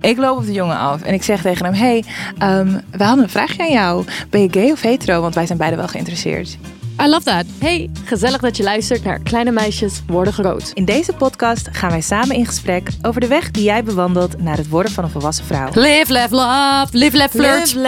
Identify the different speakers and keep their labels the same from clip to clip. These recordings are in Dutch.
Speaker 1: Ik loop op de jongen af en ik zeg tegen hem: Hey, ehm, we hadden een vraagje aan jou. Ben je gay of hetero? Want wij zijn beide wel geïnteresseerd.
Speaker 2: I love that. Hey, gezellig dat je luistert naar Kleine Meisjes Worden Groot.
Speaker 1: In deze podcast gaan wij samen in gesprek over de weg die jij bewandelt naar het worden van een volwassen vrouw.
Speaker 2: Live, love, love. Live, love, flirt.
Speaker 1: Live,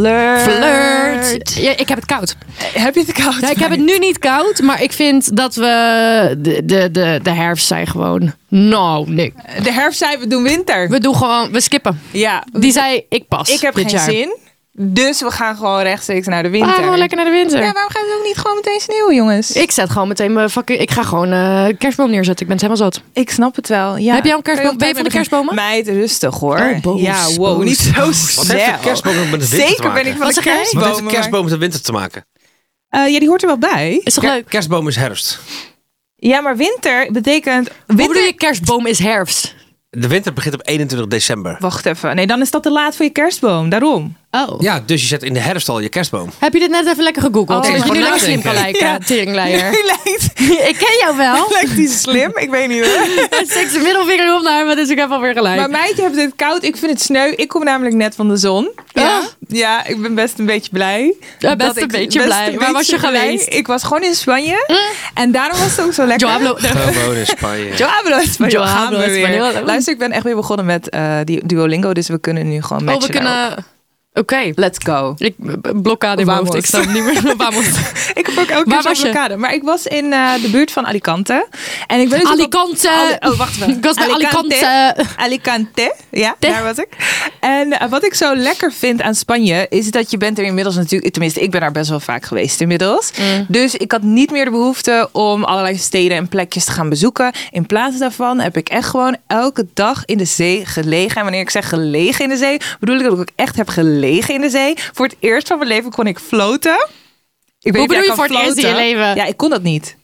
Speaker 1: love, flirt.
Speaker 2: Flirt. Ja, ik heb het koud.
Speaker 1: Eh, Heb je het koud?
Speaker 2: Ja, ik heb het nu niet koud, maar ik vind dat we... De, de, de, de herfst zijn gewoon... Nou, nee.
Speaker 1: De herfst zei we doen winter.
Speaker 2: We doen gewoon... We skippen.
Speaker 1: ja,
Speaker 2: Die zei, ik pas
Speaker 1: ik heb
Speaker 2: dit
Speaker 1: geen
Speaker 2: jaar. Ah,
Speaker 1: zin. Dus we gaan gewoon rechtstreeks naar de
Speaker 2: We gaan
Speaker 1: winter.
Speaker 2: gewoon lekker naar de winter.
Speaker 1: Ja, waarom gaan we ook niet gewoon meteen sneeuw, jongens?
Speaker 2: Ik zet gewoon meteen mijn fucking... Ik ga gewoon eh kerstboom neerzetten. Ik ben het helemaal zot.
Speaker 1: Ik snap het wel. Ja.
Speaker 2: Heb jij een kerstboom?
Speaker 1: Kan je op
Speaker 2: Ben je
Speaker 1: tijd
Speaker 2: van de
Speaker 1: met een-
Speaker 2: kerstbomen?
Speaker 1: Meid, rustig hoor.
Speaker 2: Oh, boos,
Speaker 1: ja, wow,
Speaker 2: boos,
Speaker 1: niet zo snel.
Speaker 3: Wat heeft de kerstboom ook met de winter te
Speaker 1: Zeker ben
Speaker 3: maken?
Speaker 1: ik van
Speaker 2: Wat
Speaker 1: de
Speaker 2: zeg jij? Eh,
Speaker 1: kerstboom.
Speaker 3: Wat heeft de kerstboom met de winter te maken?
Speaker 1: ja, die hoort er wel bij.
Speaker 2: Is toch
Speaker 3: Ker-
Speaker 2: leuk?
Speaker 3: Kerstboom is herfst.
Speaker 1: Ja, maar winter betekent...
Speaker 2: Hoe bedoel
Speaker 1: Winter...
Speaker 2: je kerstboom is herfst?
Speaker 3: De winter begint op 21 december.
Speaker 1: Wacht even. Nee, dan is dat te laat voor je kerstboom. Daarom.
Speaker 2: Oh.
Speaker 3: Ja, dus je zet in de herfst al je kerstboom.
Speaker 2: Heb je dit net even lekker gegoogeld?
Speaker 1: Oh,
Speaker 2: Oh,
Speaker 3: ik
Speaker 2: je nu
Speaker 3: wou
Speaker 2: lekker slim
Speaker 3: nadenken.
Speaker 2: kan lijken,
Speaker 1: Ja.
Speaker 2: teringleier.
Speaker 1: Nu lijkt,
Speaker 2: Ik ken jou wel. Dus
Speaker 1: lijkt die slim. Ik weet niet hoor.
Speaker 2: Steek zijn middelvinger op naar hem, dus ik heb alweer gelijk.
Speaker 1: Maar meidje hebt het koud. Ik vind het sneu. Ik kom namelijk net van de zon.
Speaker 2: Ja?
Speaker 1: Ja, ik ben best een beetje blij.
Speaker 2: Ja, best
Speaker 1: Dat
Speaker 2: een
Speaker 1: ik-
Speaker 2: beetje
Speaker 1: best
Speaker 2: blij.
Speaker 1: een
Speaker 2: Waar was je
Speaker 1: blij.
Speaker 2: geweest? Hm?
Speaker 1: Ik was gewoon in Spanje. En daarom was het ook zo lekker.
Speaker 2: Joablo.
Speaker 3: Gewoon Oh, in Spanje.
Speaker 1: Joablo Espanol.
Speaker 2: Joablo
Speaker 1: gaan we weer.
Speaker 2: Espanol.
Speaker 1: Luister, ik ben echt weer begonnen met eh, die Duolingo. Dus we kunnen nu gewoon
Speaker 2: Oh,
Speaker 1: matchen
Speaker 2: we kunnen... Oké.
Speaker 1: daarop. nou. Let's go.
Speaker 2: Ik b- blokkade in mijn hoofd. Ik
Speaker 1: Vamos.
Speaker 2: sta niet meer Dus op Vamos.
Speaker 1: Ik heb ook elke keer zo'n
Speaker 2: Waar was je?
Speaker 1: blokkade. Maar ik was in eh, de buurt van Alicante. En ik ben dus op-
Speaker 2: Alicante.
Speaker 1: Ali- oh, wacht even.
Speaker 2: Ik was bij Alicante.
Speaker 1: Alicante. Ja,
Speaker 2: Te.
Speaker 1: daar was ik. En eh, wat ik zo lekker vind aan Spanje... is dat je bent er inmiddels natuurlijk... tenminste, ik ben daar best wel vaak geweest inmiddels.
Speaker 2: Mm.
Speaker 1: Dus ik had niet meer de behoefte... om allerlei steden en plekjes te gaan bezoeken. In plaats daarvan heb ik echt gewoon... elke dag in de zee gelegen. En wanneer ik zeg gelegen in de zee... bedoel ik dat ik ook echt heb gelegen in de zee. Voor het eerst van mijn leven kon ik floten. Ik weet niet
Speaker 2: Hoe
Speaker 1: of
Speaker 2: bedoel
Speaker 1: jij
Speaker 2: je
Speaker 1: kan
Speaker 2: voor het eerst in
Speaker 1: floten.
Speaker 2: je leven?
Speaker 1: Ja, ik kon dat niet.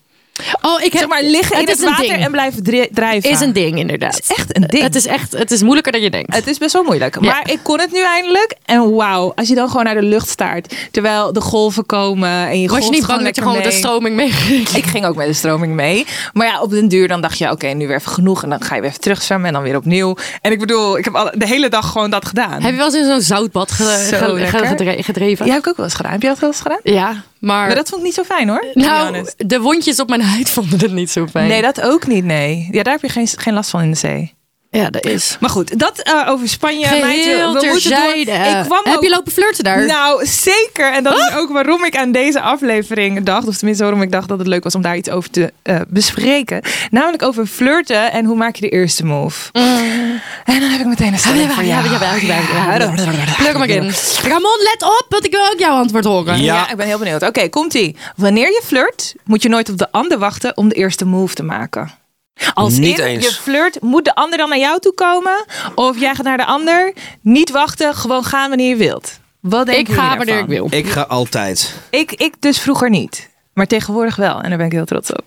Speaker 2: Oh, ik heb...
Speaker 1: Zeg maar liggen in
Speaker 2: is
Speaker 1: het water
Speaker 2: een ding.
Speaker 1: en blijven dri- drijven.
Speaker 2: is een ding, inderdaad. Het is
Speaker 1: echt een ding.
Speaker 2: Het is echt... Het is moeilijker dan je denkt.
Speaker 1: Het is best wel moeilijk. Maar ik kon het nu eindelijk. En wauw, als je dan gewoon naar de lucht staart. Terwijl de golven komen. En je
Speaker 2: was je
Speaker 1: golft
Speaker 2: niet bang
Speaker 1: gewoon
Speaker 2: dat
Speaker 1: lekker
Speaker 2: je gewoon met de
Speaker 1: mee.
Speaker 2: stroming mee...
Speaker 1: Ik ging ook met de stroming mee. Maar ja, op den duur dan dacht je, oké, nu weer even genoeg. En dan ga je weer even terugzwemmen en dan weer opnieuw. En ik bedoel, ik heb alle- de hele dag gewoon dat gedaan.
Speaker 2: Heb je wel eens in zo'n zoutbad ge-
Speaker 1: Zo
Speaker 2: ge-
Speaker 1: lekker.
Speaker 2: ge- gedre- gedreven?
Speaker 1: Jij hebt ook wel eens gedaan. Heb je dat wel eens gedaan?
Speaker 2: Ja, maar...
Speaker 1: Maar dat vond ik niet zo fijn hoor. to be
Speaker 2: nou,
Speaker 1: honest.
Speaker 2: de wondjes op mijn huid vonden het niet zo fijn.
Speaker 1: Nee, dat ook niet, nee. Ja, daar heb je geen, geen last van in de zee.
Speaker 2: Ja, dat is...
Speaker 1: Maar goed, dat eh, over Spanje.
Speaker 2: Geheel
Speaker 1: meid, we moeten door.
Speaker 2: terzijde.
Speaker 1: Ik kwam
Speaker 2: Heb
Speaker 1: ook-
Speaker 2: je lopen flirten daar?
Speaker 1: Nou, zeker. En dat
Speaker 2: Ah!
Speaker 1: is ook waarom ik aan deze aflevering dacht. Of tenminste waarom ik dacht dat het leuk was om daar iets over te eh, bespreken. Namelijk over flirten en hoe maak je de eerste move.
Speaker 2: Mm.
Speaker 1: En dan heb ik meteen een
Speaker 2: Ah,
Speaker 1: stelling voor jou.
Speaker 2: Pluk hem maar in. Ramon, let op, want ik wil ook jouw antwoord horen.
Speaker 1: Ja.
Speaker 3: Ja.
Speaker 1: ik ben heel benieuwd. Oké, komt-ie. Wanneer je flirt, moet je nooit op de ander wachten om de eerste move te maken. Als
Speaker 3: Niet
Speaker 1: in,
Speaker 3: eens.
Speaker 1: je flirt, moet de ander dan naar jou toe komen? Of jij gaat naar de ander? Niet wachten, gewoon gaan wanneer je wilt. Wat denk
Speaker 2: Ik ga wanneer ik wil.
Speaker 3: Ik ga altijd.
Speaker 1: Ik, ik dus vroeger niet. Maar tegenwoordig wel. En daar ben ik heel trots op.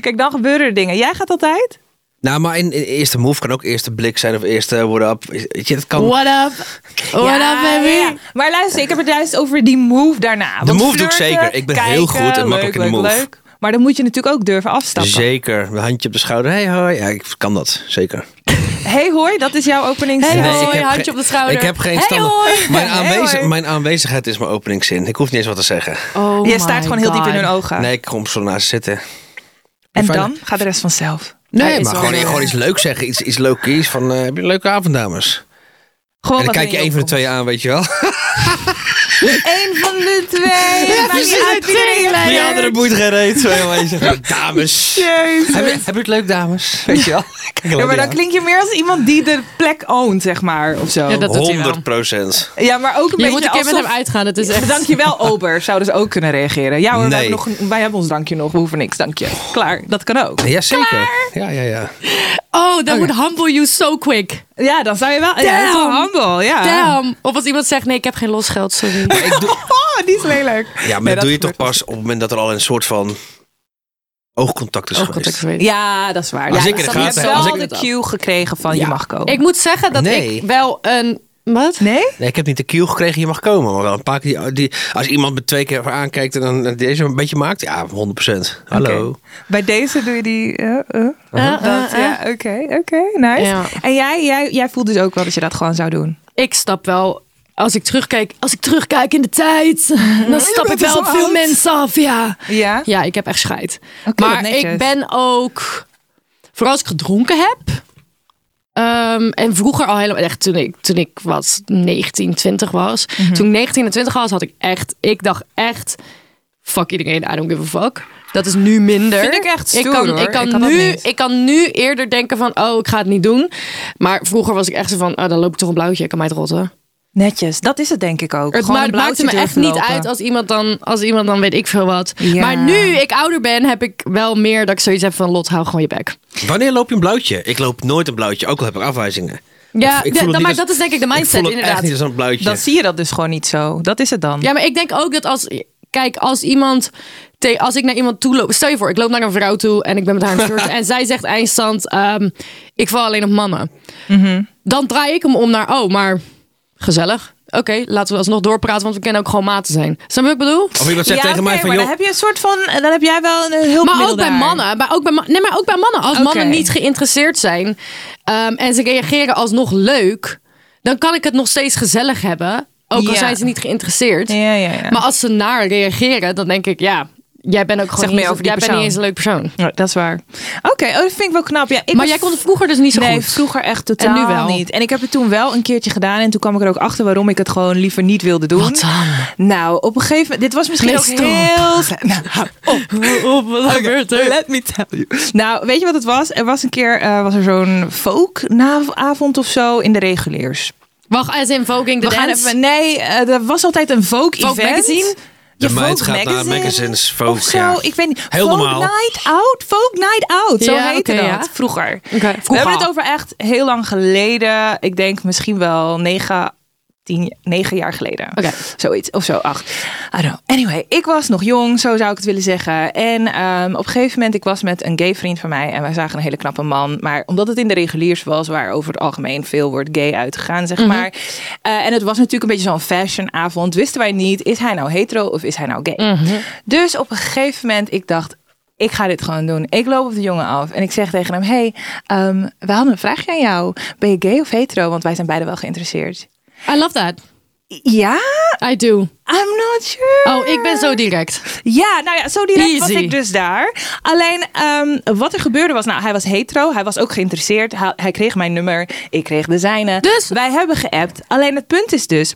Speaker 1: Kijk, dan gebeuren er dingen. Jij gaat altijd?
Speaker 3: Nou, maar in, in eerste move kan ook eerste blik zijn of eerste what up. Weet je, dat kan.
Speaker 2: What up? What up, baby?
Speaker 1: ja. Maar luister, ik heb het juist over die move daarna.
Speaker 3: De
Speaker 1: Want
Speaker 3: move doe ik
Speaker 1: flirten,
Speaker 3: zeker. Ik ben heel
Speaker 1: kijken,
Speaker 3: goed en
Speaker 1: leuk,
Speaker 3: makkelijk in de
Speaker 1: leuk,
Speaker 3: move.
Speaker 1: leuk. Maar dan moet je natuurlijk ook durven afstappen.
Speaker 3: Zeker. Een handje op de schouder. Hey, hoi. Ja, ik kan dat. Zeker.
Speaker 1: hey, hoi, dat is jouw openingszin.
Speaker 2: Hey, hoi.
Speaker 3: ik heb
Speaker 2: handje
Speaker 3: geen-
Speaker 2: op de schouder.
Speaker 3: Ik heb geen
Speaker 2: Hey,
Speaker 3: standaard-
Speaker 2: hoi.
Speaker 3: Mijn,
Speaker 1: Hey,
Speaker 3: aanwezig-
Speaker 1: hoi.
Speaker 3: mijn aanwezigheid is mijn openingszin. Ik hoef niet eens wat te zeggen.
Speaker 2: Oh
Speaker 1: je staart gewoon heel diep in hun
Speaker 2: Ah.
Speaker 1: ogen.
Speaker 3: Nee, ik kom zo naast zitten.
Speaker 1: en
Speaker 3: fijn.
Speaker 1: dan gaat de rest vanzelf.
Speaker 3: Nee, maar
Speaker 2: wel
Speaker 3: gewoon,
Speaker 2: leuk.
Speaker 3: gewoon iets leuks zeggen. Iets, iets low-keys van, eh, heb je een leuke avond, dames?
Speaker 1: Gewoon
Speaker 3: en dan
Speaker 1: wat
Speaker 3: kijk je
Speaker 1: in
Speaker 3: één van de
Speaker 1: opkomt.
Speaker 3: twee aan, weet je wel.
Speaker 1: Eén van de twee. Ja,
Speaker 2: precies, een teringleier.
Speaker 3: Die andere boeit geen reet. Zo helemaal in zijn- dames. Heb je,
Speaker 1: Jezus.
Speaker 3: heb je het leuk, dames? Weet je wel? Kijk,
Speaker 1: Ja, maar dan
Speaker 3: aan.
Speaker 1: klink je meer als iemand die de plek oont, zeg maar. Of zo.
Speaker 2: Ja, dat doet hij wel.
Speaker 3: 100 procent.
Speaker 1: Ja, maar ook een
Speaker 2: Je
Speaker 1: beetje
Speaker 2: moet een keer met
Speaker 1: alsof...
Speaker 2: hem uitgaan. Het is echt...
Speaker 1: Dankjewel, Ober. Zouden ze ook kunnen reageren. Ja hoor, wij,
Speaker 3: Nee.
Speaker 1: hebben nog, een- wij hebben ons drankje nog. We hoeven niks, dank je. Klaar, dat kan ook.
Speaker 3: Jazeker. Ja, ja, ja.
Speaker 2: Oh, that would humble you so quick.
Speaker 1: Ja, dan zou je wel. Ja, dat is wel
Speaker 2: Damn.
Speaker 1: humble. Ja.
Speaker 2: Damn. Of als iemand zegt, nee, ik heb geen losgeld, sorry.
Speaker 3: Ik doe-
Speaker 1: Oh, die is heel leuk. Nee,
Speaker 3: ja, maar dat doe je
Speaker 1: gebeurt
Speaker 3: toch pas op het moment dat er al een soort van oogcontact is
Speaker 2: Oogcontact
Speaker 3: geweest.
Speaker 2: is geweest.
Speaker 1: Ja, dat is waar.
Speaker 3: Als
Speaker 1: ja,
Speaker 3: ik in de
Speaker 1: dat- je
Speaker 3: gaten
Speaker 1: hebt
Speaker 3: heb- als
Speaker 1: wel
Speaker 3: ik-
Speaker 1: de cue gekregen van je mag komen.
Speaker 2: Ik moet zeggen dat
Speaker 3: Nee.
Speaker 2: ik wel een... Wat?
Speaker 1: nee?
Speaker 3: Nee, ik heb niet de cue gekregen, je mag komen. Maar wel een paar keer, die, die, als iemand me twee keer aankijkt en dan deze een beetje maakt. Ja, 100%. Hallo.
Speaker 1: Oké. Bij deze doe je die. eh, eh,
Speaker 2: Eh,
Speaker 1: dat,
Speaker 2: eh, eh.
Speaker 1: ja, oké, oké, nice.
Speaker 2: Ja.
Speaker 1: En jij, jij, jij voelt dus ook wel dat je dat gewoon zou doen.
Speaker 2: Ik stap wel... Als ik terugkijk, als ik terugkijk in de tijd, dan stap ik
Speaker 1: bent
Speaker 2: wel
Speaker 1: zo
Speaker 2: op veel
Speaker 1: oud.
Speaker 2: mensen af, ja.
Speaker 1: Ja?
Speaker 2: Ja, ik heb echt scheid.
Speaker 1: Oké,
Speaker 2: maar
Speaker 1: wat netjes.
Speaker 2: ik ben ook... Vooral als ik gedronken heb. ehm, en vroeger al helemaal... Echt toen ik, toen ik wat 19, 20 was.
Speaker 1: Mhm.
Speaker 2: Toen ik 19 en 20 was, had ik echt... Ik dacht echt... Fuck iedereen, I don't give a fuck. Dat is nu minder.
Speaker 1: Vind ik echt stoer,
Speaker 2: ik kan,
Speaker 1: hoor.
Speaker 2: Ik kan,
Speaker 1: Ik had dat
Speaker 2: nu,
Speaker 1: niet.
Speaker 2: ik kan nu eerder denken van... Oh, ik ga het niet doen. Maar vroeger was ik echt zo van... Oh, dan loop ik toch een blauwtje. Ik kan mij het rotten.
Speaker 1: Netjes, dat is het denk ik ook.
Speaker 2: Het
Speaker 1: Gewoon
Speaker 2: ma-
Speaker 1: een
Speaker 2: maakte
Speaker 1: blauwtje
Speaker 2: me echt
Speaker 1: durven
Speaker 2: niet
Speaker 1: lopen.
Speaker 2: uit als iemand, dan, als iemand dan weet ik veel wat.
Speaker 1: Ja.
Speaker 2: Maar nu ik ouder ben, heb ik wel meer dat ik zoiets heb van Lot, hou gewoon je bek.
Speaker 3: Wanneer loop je een blauwtje? Ik loop nooit een blauwtje, ook al heb ik afwijzingen.
Speaker 2: Ja,
Speaker 3: Ik voel
Speaker 2: d-
Speaker 3: het niet
Speaker 2: maar
Speaker 3: als-
Speaker 2: dat is denk ik de
Speaker 3: ik
Speaker 2: mindset
Speaker 3: voel het
Speaker 2: inderdaad.
Speaker 3: echt niet als een blauwtje.
Speaker 1: Dan zie je dat dus gewoon niet zo. Dat is het dan.
Speaker 2: Ja, maar ik denk ook dat als. Kijk, als iemand. te- Als ik naar iemand toe loop. Stel je voor, ik loop naar een vrouw toe en ik ben met haar in het flirten en zij zegt eindstand: ehm, Ik val alleen op mannen.
Speaker 1: Mhm.
Speaker 2: Dan draai ik hem om naar. Oh, maar gezellig. Oké, laten we alsnog doorpraten, want we kunnen ook gewoon maten zijn. Snap je wat ik bedoel?
Speaker 3: Of iemand zegt
Speaker 1: Ja,
Speaker 3: tegen
Speaker 1: oké,
Speaker 3: mij van,
Speaker 1: maar
Speaker 3: joh,
Speaker 1: dan heb je een soort van, eh, dan heb jij wel een hulpmiddel
Speaker 2: Maar ook bij
Speaker 1: daar.
Speaker 2: mannen. Maar ook bij, ma- nee, maar ook bij mannen. Als
Speaker 1: Oké.
Speaker 2: mannen niet geïnteresseerd zijn ehm, en ze reageren alsnog leuk, dan kan ik het nog steeds gezellig hebben. Ook al
Speaker 1: Ja.
Speaker 2: zijn ze niet geïnteresseerd.
Speaker 1: Ja, ja, ja.
Speaker 2: Maar als ze naar reageren, dan denk ik, ja, jij bent ook gewoon
Speaker 1: Zeg meer
Speaker 2: niet, eens-
Speaker 1: over die
Speaker 2: jij bent
Speaker 1: persoon.
Speaker 2: niet eens een leuk persoon.
Speaker 1: Ja, Oh, dat is waar. Oké, oh, dat vind ik wel knap. Ja, ik
Speaker 2: maar
Speaker 1: was-
Speaker 2: jij kon het vroeger dus niet zo
Speaker 1: nee,
Speaker 2: goed.
Speaker 1: vroeger echt totaal
Speaker 2: En nu wel?
Speaker 1: niet. En ik heb het toen wel een keertje gedaan. En toen kwam ik er ook achter waarom ik het gewoon liever niet wilde doen.
Speaker 2: Wat dan?
Speaker 1: Nou, op een gegeven moment... Dit was misschien
Speaker 2: Nee,
Speaker 1: ook
Speaker 2: stop.
Speaker 1: heel... Nou, hou op.
Speaker 2: wat gebeurt er?
Speaker 1: Let me tell you. Nou, weet je wat het was? Er was een keer eh, was er zo'n folkavond of zo in de reguliers.
Speaker 2: Wacht, as in Voguing the
Speaker 1: We gaan
Speaker 2: Dance?
Speaker 1: even, nee, eh, er was altijd een Vogue
Speaker 2: Vogue
Speaker 1: event.
Speaker 2: magazine?
Speaker 1: Je
Speaker 3: De meid gaat naar magazines, Vogue,
Speaker 1: of zo.
Speaker 3: ja.
Speaker 1: Ik weet niet.
Speaker 3: Heel
Speaker 1: Vogue
Speaker 3: normaal.
Speaker 1: Night Out, Vogue Night Out. Zo
Speaker 2: Ja,
Speaker 1: heette
Speaker 2: oké,
Speaker 1: dat
Speaker 2: ja.
Speaker 1: vroeger. We
Speaker 2: vroeger.
Speaker 1: hebben het over echt heel lang geleden. Ik denk misschien wel negen, tien, negen jaar geleden.
Speaker 2: Oké.
Speaker 1: Zoiets, of zo, acht. I don't know. Anyway, ik was nog jong, zo zou ik het willen zeggen. En ehm, op een gegeven moment, ik was met een gay vriend van mij... en wij zagen een hele knappe man. Maar omdat het in de reguliers was... waar over het algemeen veel wordt gay uitgegaan, zeg maar. Eh, en het was natuurlijk een beetje zo'n fashionavond. Wisten wij niet, is hij nou hetero of is hij nou gay? Dus op een gegeven moment, ik dacht... Ik ga dit gewoon doen. Ik loop op de jongen af en ik zeg tegen hem: Hey, ehm we hadden een vraagje aan jou. Ben je gay of hetero? Want wij zijn beide wel geïnteresseerd.
Speaker 2: I love that.
Speaker 1: Ja,
Speaker 2: I do.
Speaker 1: I'm not sure.
Speaker 2: Oh, ik ben zo direct.
Speaker 1: Ja, nou ja, zo direct was
Speaker 2: Easy.
Speaker 1: ik dus daar. Alleen ehm, wat er gebeurde was, nou, hij was hetero, hij was ook geïnteresseerd. Hij, hij kreeg mijn nummer, ik kreeg de zijne.
Speaker 2: Dus-
Speaker 1: wij hebben geappt. Alleen het punt is dus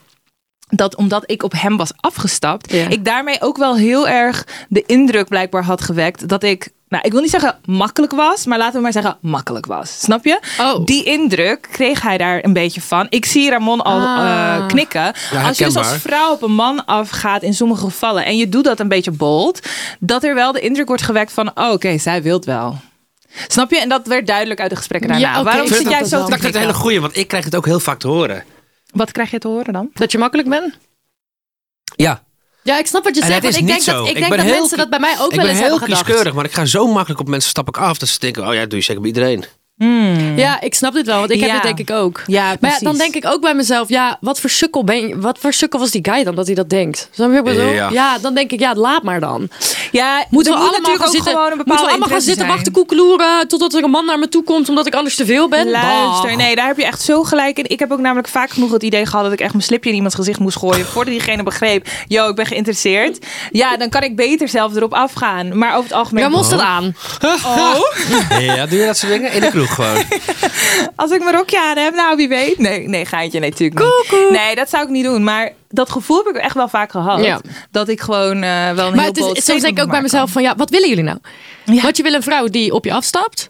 Speaker 1: dat omdat ik op hem was afgestapt,
Speaker 2: Ja.
Speaker 1: ik daarmee ook wel heel erg de indruk blijkbaar had gewekt dat ik. Nou, ik wil niet zeggen makkelijk was, maar laten we maar zeggen makkelijk was. Snap je?
Speaker 2: Oh.
Speaker 1: Die indruk kreeg hij daar een beetje van. Ik zie Ramon al
Speaker 2: Ah.
Speaker 1: eh, knikken. als je dus als
Speaker 3: herkenbaar.
Speaker 1: vrouw op een man afgaat in sommige gevallen en je doet dat een beetje bold, dat er wel de indruk wordt gewekt van, oh, oké, zij wilt wel. Snap je? En dat werd duidelijk uit de gesprekken daarna.
Speaker 2: Ja, oké,
Speaker 1: Waarom
Speaker 2: ik
Speaker 1: zit
Speaker 2: snap
Speaker 1: jij
Speaker 2: dat
Speaker 1: zo
Speaker 2: wel.
Speaker 1: te
Speaker 3: Dat is het
Speaker 1: knikken?
Speaker 3: hele goeie, want ik krijg het ook heel vaak te horen.
Speaker 1: Wat krijg je te horen dan?
Speaker 2: Dat je makkelijk bent?
Speaker 3: Ja,
Speaker 2: Ja, ik snap wat je
Speaker 3: En
Speaker 2: zegt. want
Speaker 3: het is
Speaker 2: ik denk
Speaker 3: niet zo.
Speaker 2: dat, ik
Speaker 3: Ik
Speaker 2: denk
Speaker 3: ben
Speaker 2: dat
Speaker 3: heel
Speaker 2: mensen dat bij mij ook wel
Speaker 3: ik ben
Speaker 2: eens
Speaker 3: heel
Speaker 2: hebben gedacht.
Speaker 3: kieskeurig, maar ik ga zo makkelijk op mensen stap ik af dat ze denken, oh ja, dat doe je zeker bij iedereen.
Speaker 2: Ja, ik snap dit wel, want ik heb
Speaker 1: Ja.
Speaker 2: dit denk ik ook.
Speaker 1: Ja,
Speaker 2: maar ja,
Speaker 1: precies.
Speaker 2: dan denk ik ook bij mezelf, ja, wat voor sukkel ben je, wat voor sukkel was die guy dan dat hij dat denkt? Snap je wat ik bedoel?
Speaker 3: Ja.
Speaker 2: Ja, dan denk ik, ja, laat maar dan.
Speaker 1: Ja,
Speaker 2: Moeten
Speaker 1: er
Speaker 2: we
Speaker 1: moet
Speaker 2: allemaal gaan zitten,
Speaker 1: gewoon een
Speaker 2: moeten we
Speaker 1: bepaalde
Speaker 2: allemaal gaan
Speaker 1: interesse
Speaker 2: zitten
Speaker 1: zijn.
Speaker 2: wachten koekeloeren totdat er een man naar me toe komt omdat ik anders te veel ben?
Speaker 1: Luister,
Speaker 2: Bah.
Speaker 1: nee, daar heb je echt zo gelijk in. Ik heb ook namelijk vaak genoeg het idee gehad dat ik echt mijn slipje in iemands gezicht moest gooien. voordat diegene begreep, yo, ik ben geïnteresseerd. Ja, dan kan ik beter zelf erop afgaan. Maar over het algemeen.
Speaker 2: Ramon staat aan.
Speaker 3: Ja, doe je dat soort dingen? In de kroeg gewoon.
Speaker 1: Als ik mijn rokje aan heb, nou wie weet. Nee, nee geintje, nee, natuurlijk niet. Nee, dat zou ik niet doen. Maar dat gevoel heb ik echt wel vaak gehad.
Speaker 2: Ja.
Speaker 1: Dat ik gewoon eh, wel een
Speaker 2: Maar
Speaker 1: heel
Speaker 2: het is,
Speaker 1: bold
Speaker 2: soms denk ik ook bij
Speaker 1: statement
Speaker 2: mezelf van, ja, wat willen jullie nou?
Speaker 1: Ja. Mhm.
Speaker 2: Want je wil een vrouw die op je afstapt.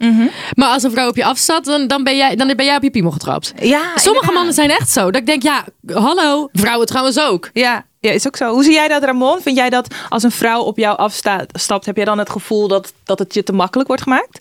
Speaker 2: Maar als een vrouw op je afstapt, dan, dan, ben, jij, dan ben jij op je piemel getrapt.
Speaker 1: kan maken. Ja,
Speaker 2: Sommige
Speaker 1: inderdaad.
Speaker 2: mannen zijn echt zo. Dat ik denk, ja, hallo, vrouwen trouwens ook.
Speaker 1: Ja, ja, is ook zo. Hoe zie jij dat, Ramon? Vind jij dat als een vrouw op jou afstapt, heb jij dan het gevoel dat, dat het je te makkelijk wordt gemaakt?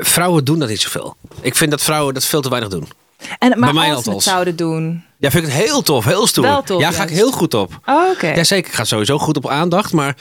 Speaker 3: Vrouwen doen dat niet zoveel. Ik vind dat vrouwen dat veel te weinig doen.
Speaker 1: En, maar
Speaker 3: mij
Speaker 1: als we
Speaker 3: althans.
Speaker 1: het zouden doen.
Speaker 3: Ja, vind ik het heel tof, heel stoer.
Speaker 1: Wel tof,
Speaker 3: ja, ga ik
Speaker 1: juist.
Speaker 3: heel goed op.
Speaker 1: Oh, oké.
Speaker 3: Ja, zeker. Ik ga sowieso goed op aandacht, maar...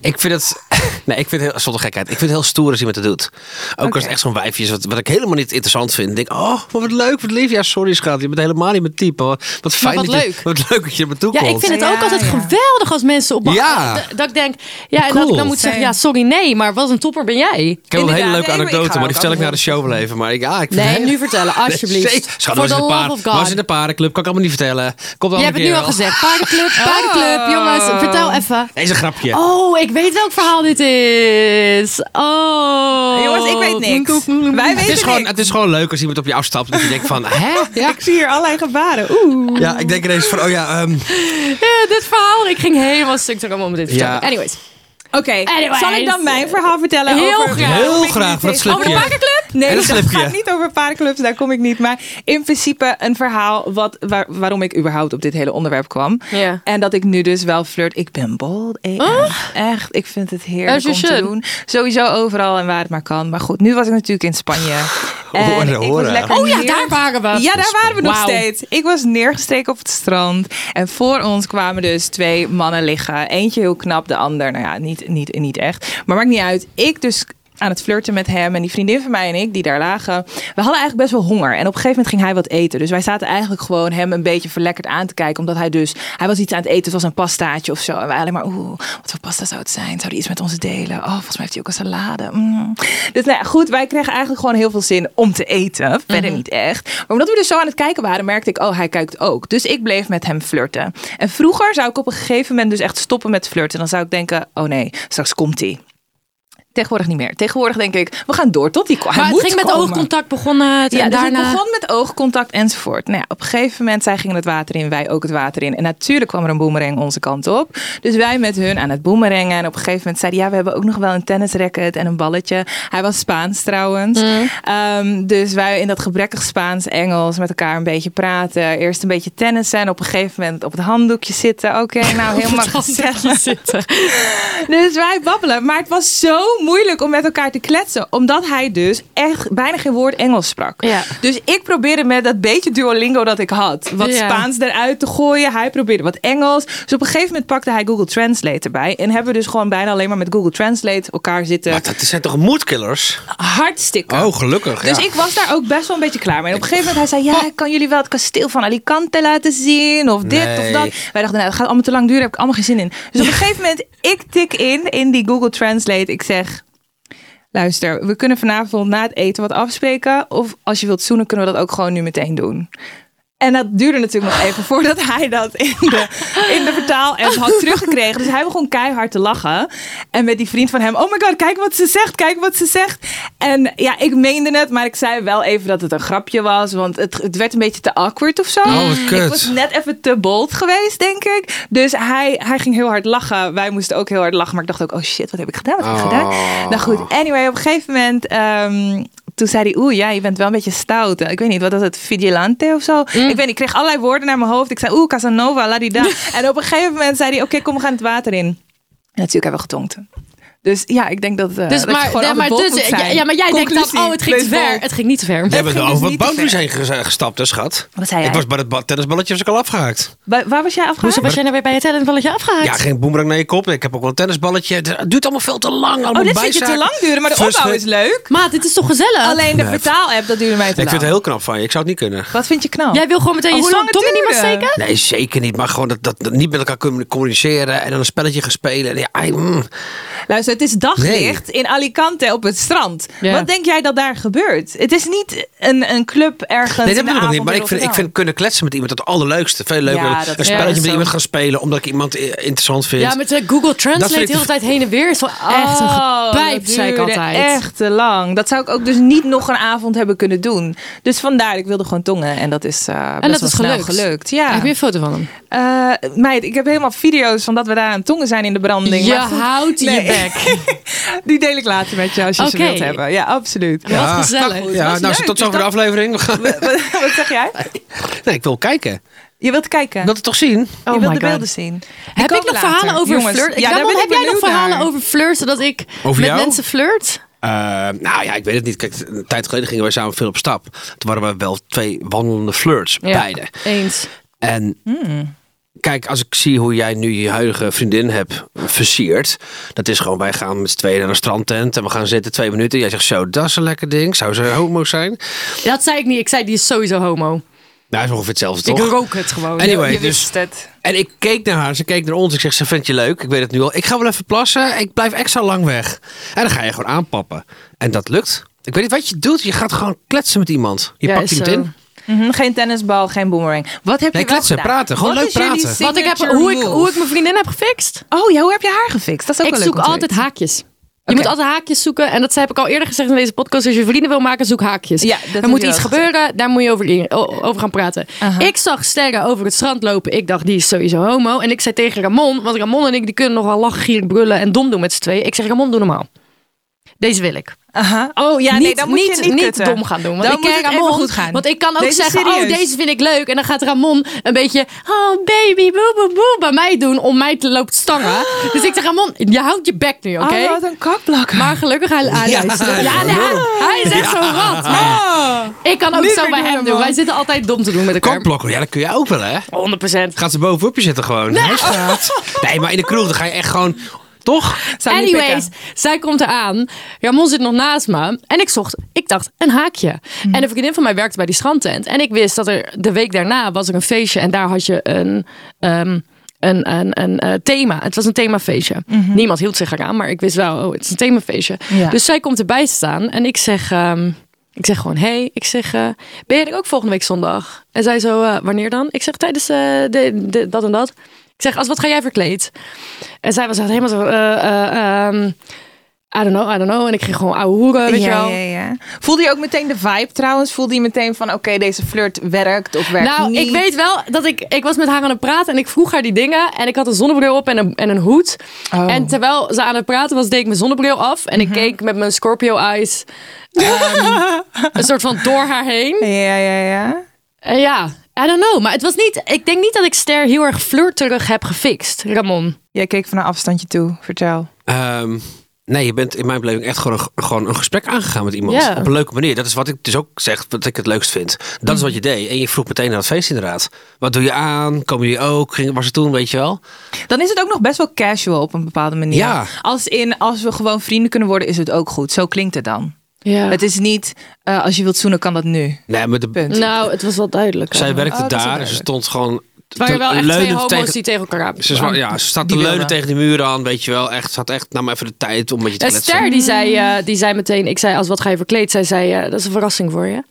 Speaker 3: ik vind het... Nee, ik vind het heel... Zonder gekheid. Ik vind het heel stoer als iemand het doet. Ook als het echt zo'n wijfje is, wat, wat ik helemaal niet interessant vind. Ik denk, oh, maar wat leuk, wat lief. Ja, sorry schat, je bent helemaal niet mijn type. hoor. Wat fijn
Speaker 2: wat
Speaker 3: dat je-
Speaker 2: leuk.
Speaker 3: wat leuk dat je me toekomt.
Speaker 2: Ja, ik vind het ook
Speaker 1: Ja,
Speaker 2: altijd
Speaker 1: ja.
Speaker 2: geweldig als mensen op me
Speaker 3: Ja.
Speaker 2: dat- Dat ik denk, ja, en dat ik
Speaker 3: Cool.
Speaker 2: dan moet zeggen, ja, sorry, nee, maar wat een topper ben jij.
Speaker 3: Ik heb wel een hele
Speaker 1: Inderdaad.
Speaker 3: leuke
Speaker 1: Nee, maar ik
Speaker 3: anekdote,
Speaker 1: ga
Speaker 3: maar die
Speaker 1: ook
Speaker 3: vertel ik na de
Speaker 1: allemaal
Speaker 3: show wel even. Maar ik, ja, ik vind het
Speaker 2: Nee,
Speaker 3: heel-
Speaker 2: nu vertellen, alsjeblieft.
Speaker 3: Nee, zeker.
Speaker 2: For
Speaker 3: Schat, was in,
Speaker 2: the
Speaker 3: de
Speaker 2: love
Speaker 3: paard,
Speaker 2: of God.
Speaker 3: was in de paardenclub, kan ik allemaal niet vertellen. Komt
Speaker 2: Je
Speaker 3: allemaal
Speaker 2: hebt het nu al gezegd. Paardenclub,
Speaker 1: Oh.
Speaker 2: paardenclub. Jongens, vertel even.
Speaker 3: Deze een grapje.
Speaker 2: Oh, ik weet welk verhaal dit is. Oh.
Speaker 1: Jongens, ik weet niks. Wij
Speaker 3: Het
Speaker 1: weten
Speaker 3: is, gewoon,
Speaker 1: niks.
Speaker 3: het is gewoon leuk als iemand op je afstapt. Dat je denkt van, hè? Ja,
Speaker 1: Ik zie hier allerlei gebaren. Oeh.
Speaker 3: ja ik denk ineens van, oh ja. ehm,
Speaker 2: Ja, Eh, dit verhaal, ik ging helemaal stuk erom om dit te
Speaker 3: Ja.
Speaker 2: vertellen. Anyways,
Speaker 1: Oké,
Speaker 2: Anyways.
Speaker 1: zal ik dan mijn verhaal vertellen?
Speaker 2: Heel
Speaker 1: over,
Speaker 2: graag.
Speaker 3: Heel
Speaker 1: over
Speaker 3: graag, wat
Speaker 1: tegen-
Speaker 3: slipje.
Speaker 1: Over de paardenclub? Nee,
Speaker 3: En
Speaker 1: dat
Speaker 3: een slipje.
Speaker 1: gaat niet over paardenclubs, daar kom ik niet. Maar in principe een verhaal wat, waar- waarom ik überhaupt op dit hele onderwerp kwam.
Speaker 2: Ja.
Speaker 1: En dat ik nu dus wel flirt. Ik ben bold. eh,
Speaker 3: Oh.
Speaker 1: Echt, ik vind het
Speaker 2: As
Speaker 1: heerlijk
Speaker 2: you
Speaker 1: om te
Speaker 2: should.
Speaker 1: doen. Sowieso overal en waar het maar kan. Maar goed, nu was ik natuurlijk in Spanje. En
Speaker 3: Horen,
Speaker 1: ik was
Speaker 3: horen.
Speaker 1: lekker
Speaker 2: Oh ja,
Speaker 1: neer-
Speaker 2: daar waren we.
Speaker 1: Ja, daar waren we nog
Speaker 2: Wauw.
Speaker 1: steeds. Ik was neergesteken op het strand. En voor ons kwamen dus twee mannen liggen. Eentje heel knap, de ander, nou ja, niet, niet, niet echt. Maar maakt niet uit. Ik dus aan het flirten met hem en die vriendin van mij en ik die daar lagen. We hadden eigenlijk best wel honger. En op een gegeven moment ging hij wat eten. Dus wij zaten eigenlijk gewoon hem een beetje verlekkerd aan te kijken. Omdat hij dus, hij was iets aan het eten. Het was een pastaatje of zo. En wij alleen maar, oeh, wat voor pasta zou het zijn? Zou die iets met ons delen? Oh, volgens mij heeft hij ook een salade. Mm. Dus nou ja, goed, wij kregen eigenlijk gewoon heel veel zin om te eten. Verder
Speaker 2: Mhm.
Speaker 1: niet echt. Maar omdat we dus zo aan het kijken waren, merkte ik, oh, hij kijkt ook. Dus ik bleef met hem flirten. En vroeger zou ik op een gegeven moment dus echt stoppen met flirten. Dan zou ik denken, oh nee, straks komt hij. Tegenwoordig niet meer. Tegenwoordig denk ik, we gaan door tot die kwam.
Speaker 2: maar het ging met oogcontact begonnen. het,
Speaker 1: Ja,
Speaker 2: en
Speaker 1: dus
Speaker 2: daarna...
Speaker 1: het begon met oogcontact enzovoort. Nou ja, op een gegeven moment, zij gingen het water in, wij ook het water in. En natuurlijk kwam er een boemerang onze kant op. Dus wij met hun aan het boemerangen. En op een gegeven moment zeiden, ja, we hebben ook nog wel een tennisracket en een balletje. Hij was Spaans trouwens.
Speaker 2: Mm.
Speaker 1: Ehm, dus wij in dat gebrekkig Spaans, Engels met elkaar een beetje praten. Eerst een beetje tennissen en op een gegeven moment op het handdoekje zitten. Oké, nou helemaal gezellig. Dus wij babbelen. Maar het was zo moeilijk om met elkaar te kletsen. Omdat hij dus echt bijna geen woord Engels sprak.
Speaker 2: Ja.
Speaker 1: Dus ik probeerde met dat beetje Duolingo dat ik had. Wat
Speaker 2: Ja.
Speaker 1: Spaans eruit te gooien. Hij probeerde wat Engels. Dus op een gegeven moment pakte hij Google Translate erbij. En hebben we dus gewoon bijna alleen maar met Google Translate elkaar zitten.
Speaker 3: maar dat zijn toch moedkillers?
Speaker 1: Hartstikke.
Speaker 3: Oh, gelukkig.
Speaker 1: Dus
Speaker 3: ja. Oh.
Speaker 1: ik was daar ook best wel een beetje klaar mee. En op een gegeven moment hij zei, ja, ik kan jullie wel het kasteel van Alicante laten zien. Of dit of
Speaker 3: Nee.
Speaker 1: dat. Wij dachten, nou, dat gaat allemaal te lang duren. Heb ik allemaal geen zin in. Dus op een gegeven moment, ik tik in, in die Google Translate. Ik zeg, luister, we kunnen vanavond na het eten wat afspreken. Of als je wilt zoenen, kunnen we dat ook gewoon nu meteen doen. En dat duurde natuurlijk nog even voordat hij dat in de, in de vertaal-app had teruggekregen. Dus hij begon keihard te lachen. En met die vriend van hem, oh my god, kijk wat ze zegt, kijk wat ze zegt. En ja, ik meende het, maar ik zei wel even dat het een grapje was. Want het, het werd een beetje te awkward of zo.
Speaker 3: Oh, wat kut.
Speaker 1: Ik was net even te bold geweest, denk ik. Dus hij, hij ging heel hard lachen. Wij moesten ook heel hard lachen. Maar ik dacht ook, oh shit, wat heb ik gedaan? Wat
Speaker 2: Oh.
Speaker 1: heb ik gedaan? Nou goed, anyway, op een gegeven moment... ehm, toen zei hij, oeh, ja, je bent wel een beetje stout. Ik weet niet, wat was het? Vigilante of zo?
Speaker 2: Mm.
Speaker 1: Ik weet niet, ik kreeg allerlei woorden naar mijn hoofd. Ik zei, oeh, Casanova, la di da. en op een gegeven moment zei hij, oké, kom, we gaan het water in. En natuurlijk hebben we getongd. Dus ja, ik denk dat, eh, dat
Speaker 2: Dus,
Speaker 1: je
Speaker 2: maar,
Speaker 1: gewoon
Speaker 2: ja,
Speaker 1: altijd
Speaker 2: maar,
Speaker 1: bold
Speaker 2: dus,
Speaker 1: moet
Speaker 2: ja,
Speaker 1: zijn.
Speaker 2: ja, maar jij denkt
Speaker 1: Conclusie,
Speaker 2: dan, oh, het ging te
Speaker 1: wees
Speaker 2: ver.
Speaker 1: bold.
Speaker 2: Het ging niet te ver.
Speaker 3: We hebben
Speaker 1: ging
Speaker 3: er over
Speaker 1: dus
Speaker 3: wat
Speaker 1: niet te
Speaker 3: boundaries
Speaker 1: ver.
Speaker 3: heen gez- gestapt, hè, schat?
Speaker 1: Wat zei jij?
Speaker 3: Ik was bij het ba- tennisballetje was ik al afgehaakt.
Speaker 1: Waar, waar was jij afgehaakt?
Speaker 2: Hoezo was jij nou weer bij het talentballetje afgehaakt?
Speaker 3: Ja, geen boemerang naar je kop. Ik heb ook wel een tennisballetje. Het duurt allemaal veel te lang.
Speaker 1: Oh,
Speaker 3: allemaal
Speaker 1: dit vind je te
Speaker 3: bijzaken.
Speaker 1: lang duren, maar de
Speaker 3: Frust-
Speaker 1: opbouw is leuk.
Speaker 2: Maat, dit is toch gezellig?
Speaker 1: Alleen de vertaal-app, dat duurde mij te
Speaker 3: Ik
Speaker 1: lang.
Speaker 3: vind het heel knap van je. Ik zou het niet kunnen.
Speaker 1: Wat vind je knap?
Speaker 2: Jij wil gewoon meteen
Speaker 1: Oh,
Speaker 2: je
Speaker 1: hoe lang
Speaker 2: tong
Speaker 1: het
Speaker 2: tong in iemand
Speaker 1: duurde?
Speaker 2: steken?
Speaker 3: Nee, zeker niet. Maar gewoon dat, dat, dat niet met elkaar kunnen communiceren en dan een spelletje gaan spelen. En ja, ai, mm.
Speaker 1: Luister, Het is daglicht in Alicante op het strand.
Speaker 2: Ja.
Speaker 1: Wat denk jij dat daar gebeurt? Het is niet een, een club ergens.
Speaker 3: Nee, dat
Speaker 1: in de
Speaker 3: bedoel ik
Speaker 1: avond
Speaker 3: niet. Maar
Speaker 1: in
Speaker 3: ik vind, ik
Speaker 1: Rotterdam.
Speaker 3: vind kunnen kletsen met iemand het allerleukste. Veel leuker
Speaker 1: Ja,
Speaker 3: dan
Speaker 1: dat is
Speaker 3: een
Speaker 2: waar.
Speaker 3: spelletje met
Speaker 2: Zo.
Speaker 3: iemand gaan spelen omdat ik iemand i- interessant vind.
Speaker 2: Ja, met eh, Google
Speaker 3: Dat
Speaker 2: Translate
Speaker 3: vind
Speaker 2: de
Speaker 3: ik
Speaker 2: hele
Speaker 3: de-
Speaker 2: tijd heen en weer is wel echt een
Speaker 1: Oh,
Speaker 2: gepijp,
Speaker 1: dat
Speaker 2: zei ik
Speaker 1: duurde
Speaker 2: altijd.
Speaker 1: Echt te lang. Dat zou ik ook dus niet nog een avond hebben kunnen doen. Dus vandaar, ik wilde gewoon tongen. En dat is, eh best
Speaker 2: En dat
Speaker 1: wel
Speaker 2: is
Speaker 1: snel
Speaker 2: gelukt.
Speaker 1: gelukt. Ja.
Speaker 2: Heb je een foto van hem?
Speaker 1: Eh, meid, ik heb helemaal video's van dat we daar aan het tongen zijn in de branding.
Speaker 2: Je
Speaker 1: maar goed,
Speaker 2: houdt je
Speaker 1: nee.
Speaker 2: bek.
Speaker 1: Die deel ik later met je als je ze
Speaker 2: Oké.
Speaker 1: wilt hebben. Ja, absoluut.
Speaker 2: Wat
Speaker 3: Ah,
Speaker 2: gezellig.
Speaker 3: nou, ja, nou,
Speaker 1: leuk. Dus
Speaker 3: tot zover de aflevering. We gaan-
Speaker 1: Wat, wat zeg jij?
Speaker 3: Nee, ik wil kijken.
Speaker 1: Je wilt kijken.
Speaker 3: Ik wil het toch zien?
Speaker 1: je wilt
Speaker 2: my
Speaker 1: de
Speaker 2: God.
Speaker 1: beelden zien.
Speaker 2: Heb ik nog verhalen over flirt? Ja,
Speaker 1: daar ben
Speaker 2: heb
Speaker 1: ik
Speaker 2: jij nog
Speaker 1: benieuwd
Speaker 2: verhalen
Speaker 1: naar.
Speaker 2: over flirt, zodat ik
Speaker 3: Over
Speaker 2: met
Speaker 3: jou?
Speaker 2: mensen flirt?
Speaker 3: Eh, nou ja, ik weet het niet. Kijk, een tijd geleden gingen wij samen veel op stap. Toen waren we wel twee wandelende flirts,
Speaker 1: Ja. Hmm.
Speaker 3: beide.
Speaker 2: Eens.
Speaker 3: En kijk, als ik zie hoe jij nu je huidige vriendin hebt versierd. Dat is gewoon, wij gaan met z'n tweeën naar een strandtent. En we gaan zitten twee minuten. Jij zegt zo, dat is een lekker ding. Zou ze homo zijn?
Speaker 2: Dat zei ik niet. Ik zei, die is sowieso homo.
Speaker 3: Nou, is ongeveer hetzelfde, toch?
Speaker 2: Ik rook het gewoon.
Speaker 3: Anyway,
Speaker 1: Je
Speaker 3: dus,
Speaker 1: wist het.
Speaker 3: en ik keek naar haar, ze keek naar ons. Ik zeg, ze vindt je leuk, ik weet het nu al. Ik ga wel even plassen, ik blijf extra lang weg. En dan ga je gewoon aanpappen. En dat lukt. Ik weet niet wat je doet, je gaat gewoon kletsen met iemand. Je
Speaker 2: Ja,
Speaker 3: pakt
Speaker 2: is
Speaker 3: iemand
Speaker 2: zo.
Speaker 3: in.
Speaker 1: Mhm, geen tennisbal, geen boomerang. Wat heb
Speaker 3: Nee,
Speaker 1: je wel
Speaker 3: kletsen,
Speaker 1: gedaan?
Speaker 3: praten. Gewoon
Speaker 1: Wat
Speaker 3: leuk
Speaker 1: is jullie
Speaker 3: praten.
Speaker 2: Wat ik heb,
Speaker 1: signature
Speaker 2: hoe, ik,
Speaker 1: move?
Speaker 2: hoe ik mijn vriendin heb gefixt?
Speaker 1: Oh ja, hoe heb je haar gefixt? Dat is ook
Speaker 2: Ik
Speaker 1: wel
Speaker 2: zoek
Speaker 1: leuk om te
Speaker 2: altijd
Speaker 1: weten.
Speaker 2: haakjes. Je moet altijd haakjes zoeken. En dat heb ik al eerder gezegd in deze podcast. Als je vrienden wil maken, zoek haakjes.
Speaker 1: Ja, dat
Speaker 2: er
Speaker 1: heb
Speaker 2: moet
Speaker 1: je
Speaker 2: iets
Speaker 1: wel
Speaker 2: gebeuren, daar moet je over, in- o- over gaan praten. Ik zag sterren over het strand lopen. Ik dacht, die is sowieso homo. En ik zei tegen Ramon, want Ramon en ik die kunnen nogal lachen, gieren, brullen en dom doen met z'n tweeën. Ik zeg, Ramon, doe normaal. Deze wil ik.
Speaker 1: Aha. Oh ja, nee,
Speaker 2: niet,
Speaker 1: dan moet
Speaker 2: niet,
Speaker 1: je niet,
Speaker 2: niet
Speaker 1: kutten.
Speaker 2: dom gaan doen. Want
Speaker 1: dan
Speaker 2: ik
Speaker 1: moet
Speaker 2: ken
Speaker 1: het
Speaker 2: Ramon,
Speaker 1: even goed gaan.
Speaker 2: Want ik kan ook
Speaker 1: Deze is
Speaker 2: zeggen, oh,
Speaker 1: serieus.
Speaker 2: deze vind ik leuk. En dan gaat Ramon een beetje, oh baby, boe, boe, boe, bij mij doen. Om mij te loopt stangen. Dus ik zeg, Ramon, je houdt je bek nu, oké?
Speaker 1: Oh, wat een kakblakker.
Speaker 2: Maar gelukkig hij hij luistert. Ja, nee, hij, hij is echt zo'n rat.
Speaker 1: Ah.
Speaker 2: Ik kan ook
Speaker 1: Nu
Speaker 2: zo
Speaker 1: weer
Speaker 2: bij
Speaker 1: doen,
Speaker 2: hem doen.
Speaker 1: man.
Speaker 2: Wij zitten altijd dom te doen met elkaar.
Speaker 3: Kokblokker, ja, dat kun je ook wel, hè?
Speaker 2: 100%.
Speaker 3: Gaat ze bovenop je zitten gewoon. Huisstraat. Nee, maar in de kroeg, dan ga je echt gewoon... Toch?
Speaker 1: Zou niet
Speaker 2: Anyways,
Speaker 1: pikken.
Speaker 2: zij komt eraan. Ramon zit nog naast me. En ik zocht, ik dacht, een haakje.
Speaker 1: Hmm.
Speaker 2: En een vriendin van mij werkte bij die strandtent. En ik wist dat er de week daarna was er een feestje. En daar had je een, ehm, een, een, een eh, thema. Het was een themafeestje. Niemand hield zich eraan, maar ik wist wel, oh, het is een themafeestje.
Speaker 1: Mhm. Ja.
Speaker 2: Dus zij komt erbij staan. En ik zeg, ehm, ik zeg gewoon, hey, ik zeg, eh, ben jij er ook volgende week zondag? En zij zo, eh, wanneer dan? Ik zeg, tijdens eh, de, de- dat en dat. Ik zeg, als wat ga jij verkleed? En zij was echt helemaal zo, eh, eh, ehm, I don't know, I don't know. En ik ging gewoon ouwe hoeren, weet je
Speaker 1: ja,
Speaker 2: wel.
Speaker 1: ja, ja. Voelde je ook meteen de vibe trouwens? Voelde je meteen van, oké, deze flirt werkt of werkt
Speaker 2: Nou,
Speaker 1: niet?
Speaker 2: ik weet wel dat ik... Ik was met haar aan het praten en ik vroeg haar die dingen. En ik had een zonnebril op en een, en een hoed.
Speaker 1: Oh.
Speaker 2: En terwijl ze aan het praten was, deed ik mijn zonnebril af. En ik keek met mijn Scorpio eyes ehm, een soort van door haar heen.
Speaker 1: Ja, ja, ja.
Speaker 2: En ja, I don't know. Maar het was niet... Ik denk niet dat ik Ster heel erg flirterig heb gefixt, Ramon.
Speaker 1: Jij keek van een afstandje toe. Vertel.
Speaker 3: Ehm, nee, je bent in mijn beleving echt gewoon een, gewoon een gesprek aangegaan met iemand.
Speaker 2: Ja.
Speaker 3: Op een leuke manier. Dat is wat ik dus ook zeg, wat ik het leukst vind. Dat is
Speaker 2: Mm.
Speaker 3: wat je deed. En je vroeg meteen naar het feest inderdaad. Wat doe je aan? Komen jullie ook? Ging, was het toen, weet je wel?
Speaker 1: Dan is het ook nog best wel casual op een bepaalde manier.
Speaker 3: Ja.
Speaker 1: Als in, als we gewoon vrienden kunnen worden, is het ook goed. Zo klinkt het dan.
Speaker 2: Ja.
Speaker 1: Het is niet, eh, als je wilt zoenen, kan dat nu.
Speaker 3: Nee, maar de,
Speaker 1: Punt.
Speaker 2: Nou, het was wel duidelijk.
Speaker 3: zij werkte
Speaker 1: dat is wel
Speaker 3: daar en ze
Speaker 1: duidelijk.
Speaker 3: stond gewoon
Speaker 2: Het waren wel echt twee
Speaker 3: leunend
Speaker 2: homo's
Speaker 3: tegen...
Speaker 2: die tegen elkaar aan.
Speaker 3: Ze, zwa- ja, ze staat te
Speaker 1: Die
Speaker 3: leunen
Speaker 1: wilde.
Speaker 3: tegen de muur aan, weet je wel. Echt, ze had echt, nou maar even de tijd om een beetje te
Speaker 2: En
Speaker 3: kletsen.
Speaker 2: Ster die zei, eh, die zei meteen, ik zei als wat ga je verkleed? Zij zei, eh, dat is een verrassing voor je.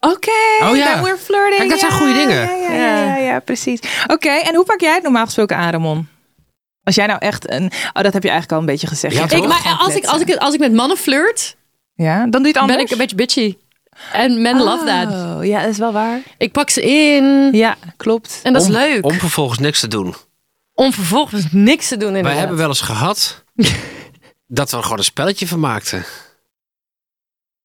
Speaker 1: Oké,
Speaker 3: Oh ja.
Speaker 1: then we're flirting.
Speaker 3: Kijk, dat zijn
Speaker 1: Ja,
Speaker 3: goede dingen.
Speaker 1: Ja, ja, ja, ja, ja, precies. Oké, en hoe pak jij het normaal gesproken aan, Ramon? Als jij nou echt een... Oh, dat heb je eigenlijk al een beetje gezegd.
Speaker 3: Ja,
Speaker 1: Je
Speaker 3: toch?
Speaker 1: gaat
Speaker 2: Ik, maar
Speaker 1: gewoon
Speaker 2: als ik,
Speaker 1: kletsen.
Speaker 2: als, ik, als ik met mannen flirt,
Speaker 1: Ja, dan doe je het anders?
Speaker 2: ben ik een beetje bitchy. En men love that.
Speaker 1: Oh, ja, dat is wel waar.
Speaker 2: Ik pak ze in.
Speaker 1: Ja, klopt.
Speaker 2: En dat is
Speaker 3: om,
Speaker 2: leuk. Om,
Speaker 3: Om vervolgens niks te doen.
Speaker 2: vervolgens niks te doen in
Speaker 3: Wij hebben wel eens gehad dat we er gewoon een spelletje van maakten.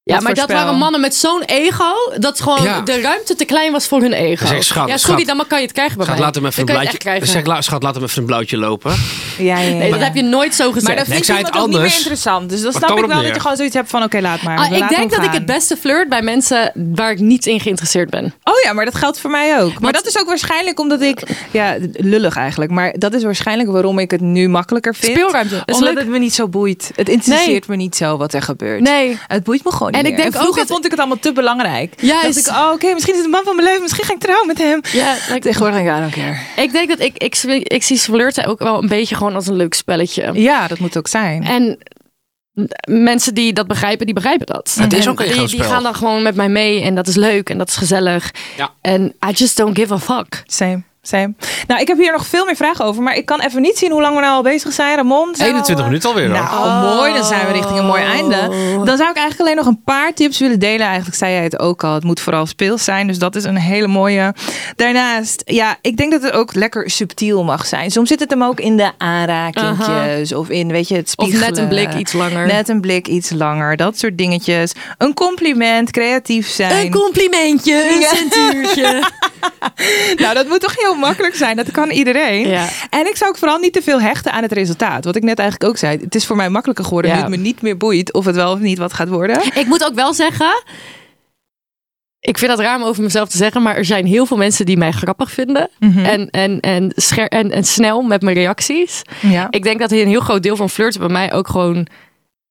Speaker 2: Ja,
Speaker 1: Wat
Speaker 2: maar
Speaker 1: voor
Speaker 2: dat
Speaker 1: spel?
Speaker 2: waren mannen met zo'n ego, dat gewoon
Speaker 3: Ja.
Speaker 2: de ruimte te klein was voor hun ego.
Speaker 3: Dan zeg ik, schat,
Speaker 2: ja,
Speaker 3: schat.
Speaker 2: sorry, dan kan je het krijgen bij
Speaker 3: Schat,
Speaker 2: mij.
Speaker 3: laat hem even
Speaker 2: dan
Speaker 3: een
Speaker 2: kan je het echt
Speaker 3: blauwtje.
Speaker 2: krijgen.
Speaker 3: Zeg, la- schat, laat hem even een blauwtje lopen.
Speaker 1: Ja, ja, ja.
Speaker 2: nee, dat heb je nooit zo gezegd.
Speaker 1: Maar dat
Speaker 3: Nee, ik
Speaker 1: vindt
Speaker 3: zei
Speaker 1: iemand
Speaker 3: het
Speaker 1: ook niet meer
Speaker 3: anders.
Speaker 1: interessant. Dus dan
Speaker 3: Maar
Speaker 1: snap
Speaker 3: kom
Speaker 1: ik
Speaker 3: erop
Speaker 1: wel
Speaker 3: neer.
Speaker 1: dat je gewoon zoiets hebt van... Oké, laat maar.
Speaker 2: Ah,
Speaker 1: We
Speaker 2: ik
Speaker 1: laten
Speaker 2: denk
Speaker 1: hem
Speaker 2: dat ik
Speaker 1: gaan.
Speaker 2: het beste flirt bij mensen waar ik niet in geïnteresseerd ben.
Speaker 1: Oh ja, maar dat geldt voor mij ook. Maar dat is ook waarschijnlijk omdat ik... Ja, lullig eigenlijk. Maar dat is waarschijnlijk waarom ik het nu makkelijker vind.
Speaker 2: Speelruimte. Dat is
Speaker 1: Omdat
Speaker 2: leuk.
Speaker 1: het me niet zo boeit. Het interesseert me niet zo wat er gebeurt.
Speaker 2: Nee.
Speaker 1: Het boeit me gewoon niet
Speaker 2: En ik
Speaker 1: meer.
Speaker 2: denk
Speaker 1: vroeger
Speaker 2: ook dat-
Speaker 1: vond ik het allemaal te belangrijk.
Speaker 2: Juist.
Speaker 1: Dacht ik, oh, oké, misschien is het de man van mijn leven. Misschien ga ik trouwen met hem.
Speaker 2: Ja, like-
Speaker 1: Tegenwoordig denk ik, I don't care.
Speaker 2: ik denk dat ik, ik, ik, zie flirten ook wel een beetje gewoon als een leuk spelletje.
Speaker 1: Ja, dat moet ook zijn.
Speaker 2: En mensen die dat begrijpen, die begrijpen dat.
Speaker 3: Het is
Speaker 2: En
Speaker 3: ook een
Speaker 2: die,
Speaker 3: groot
Speaker 2: die
Speaker 3: spel.
Speaker 2: gaan dan gewoon met mij mee en dat is leuk en dat is gezellig.
Speaker 3: Ja.
Speaker 2: En I just don't give a fuck.
Speaker 1: Same, same. Nou, ik heb hier nog veel meer vragen over, maar ik kan even niet zien hoe lang we nou al bezig zijn, Ramon. Zijn we al,
Speaker 2: Oh.
Speaker 3: 21
Speaker 1: eh,
Speaker 3: minuten alweer. hoor.
Speaker 1: Nou, mooi. Dan zijn we richting een mooi einde. Dan zou ik eigenlijk alleen nog een paar tips willen delen. Eigenlijk zei jij het ook al. Het moet vooral speels zijn. Dus dat is een hele mooie. Daarnaast, ja, ik denk dat het ook lekker subtiel mag zijn. Soms zit het hem ook in de aanrakingjes. Of in, weet je, het
Speaker 2: Of net
Speaker 1: spiegelen.
Speaker 2: een blik iets langer.
Speaker 1: Net een blik iets langer. Dat soort dingetjes. Een compliment, creatief zijn.
Speaker 2: Een complimentje, een centuurtje.
Speaker 1: Nou, dat moet toch heel makkelijk zijn. Dat kan iedereen.
Speaker 2: Ja.
Speaker 1: En ik zou ook vooral niet te veel hechten aan het resultaat. Wat ik net eigenlijk ook zei. Het is voor mij makkelijker geworden.
Speaker 2: Ja.
Speaker 1: Nu het me niet meer boeit of het wel of niet wat gaat worden.
Speaker 2: ik moet ook wel zeggen, ik vind dat raar om over mezelf te zeggen, maar er zijn heel veel mensen die mij grappig vinden.
Speaker 3: Mhm.
Speaker 2: en, en, en, scher- en, en snel met mijn reacties.
Speaker 1: Ja.
Speaker 2: Ik denk dat een heel groot deel van flirten bij mij ook gewoon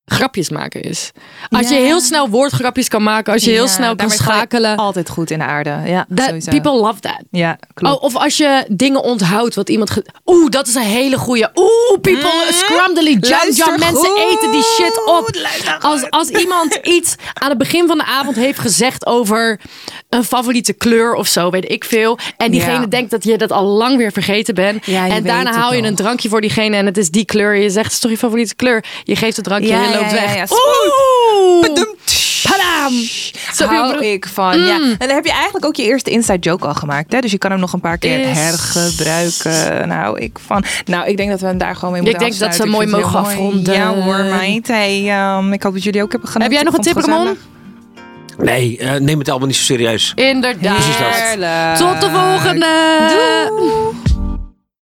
Speaker 2: grapjes maken is. Als
Speaker 1: Ja.
Speaker 2: je heel snel woordgrapjes kan maken, als je heel
Speaker 1: Ja,
Speaker 2: snel kan
Speaker 1: daarmee val ik
Speaker 2: schakelen.
Speaker 1: Altijd goed in de aarde. Ja,
Speaker 2: that-
Speaker 1: sowieso.
Speaker 2: people love that.
Speaker 1: Ja, klopt.
Speaker 2: Oh, of als je dingen onthoudt wat iemand... ge- Oeh, dat is een hele goeie. Oeh, people scrambly, jump,
Speaker 1: Mm. Luister
Speaker 2: jump. Mensen
Speaker 1: goed.
Speaker 2: eten die shit op.
Speaker 1: Luister
Speaker 2: Als, als iemand iets aan het begin van de avond heeft gezegd over een favoriete kleur of zo, weet ik veel. En diegene
Speaker 1: Ja.
Speaker 2: denkt dat je dat al lang weer vergeten bent.
Speaker 1: Ja, je
Speaker 2: en
Speaker 1: weet
Speaker 2: daarna
Speaker 1: het
Speaker 2: haal je
Speaker 1: al.
Speaker 2: een drankje voor diegene en het is die kleur. En je zegt, het is toch je favoriete kleur? Je geeft het drankje
Speaker 1: Ja,
Speaker 2: en je
Speaker 1: ja,
Speaker 2: loopt
Speaker 1: ja,
Speaker 2: weg.
Speaker 1: ja,
Speaker 2: Oeh!
Speaker 1: Padum.
Speaker 2: Padam! Zo Mm.
Speaker 1: Hou
Speaker 2: bedoel-
Speaker 1: ik van. Ja. En dan heb je eigenlijk ook je eerste inside joke al gemaakt. Hè? Dus je kan hem nog een paar keer
Speaker 2: Is-
Speaker 1: hergebruiken. Nou, ik van. Nou, ik denk dat we hem daar gewoon mee
Speaker 2: Ik
Speaker 1: moeten
Speaker 2: denk dat ze
Speaker 1: afsluiten.
Speaker 2: mooi
Speaker 1: Ik vind het heel
Speaker 2: mogen
Speaker 1: mooi.
Speaker 2: afronden.
Speaker 1: Ja hoor, meid. Hey, ehm, ik hoop dat jullie ook hebben
Speaker 2: Heb
Speaker 1: genoten.
Speaker 2: jij nog een
Speaker 1: Ik
Speaker 2: tip,
Speaker 1: vond het
Speaker 2: Ramon?
Speaker 1: gezellig.
Speaker 3: Nee,
Speaker 1: nou.
Speaker 3: eh, neem het allemaal niet zo serieus.
Speaker 2: Inderdaad.
Speaker 1: Heerlijk.
Speaker 2: Tot de volgende!
Speaker 1: Doei.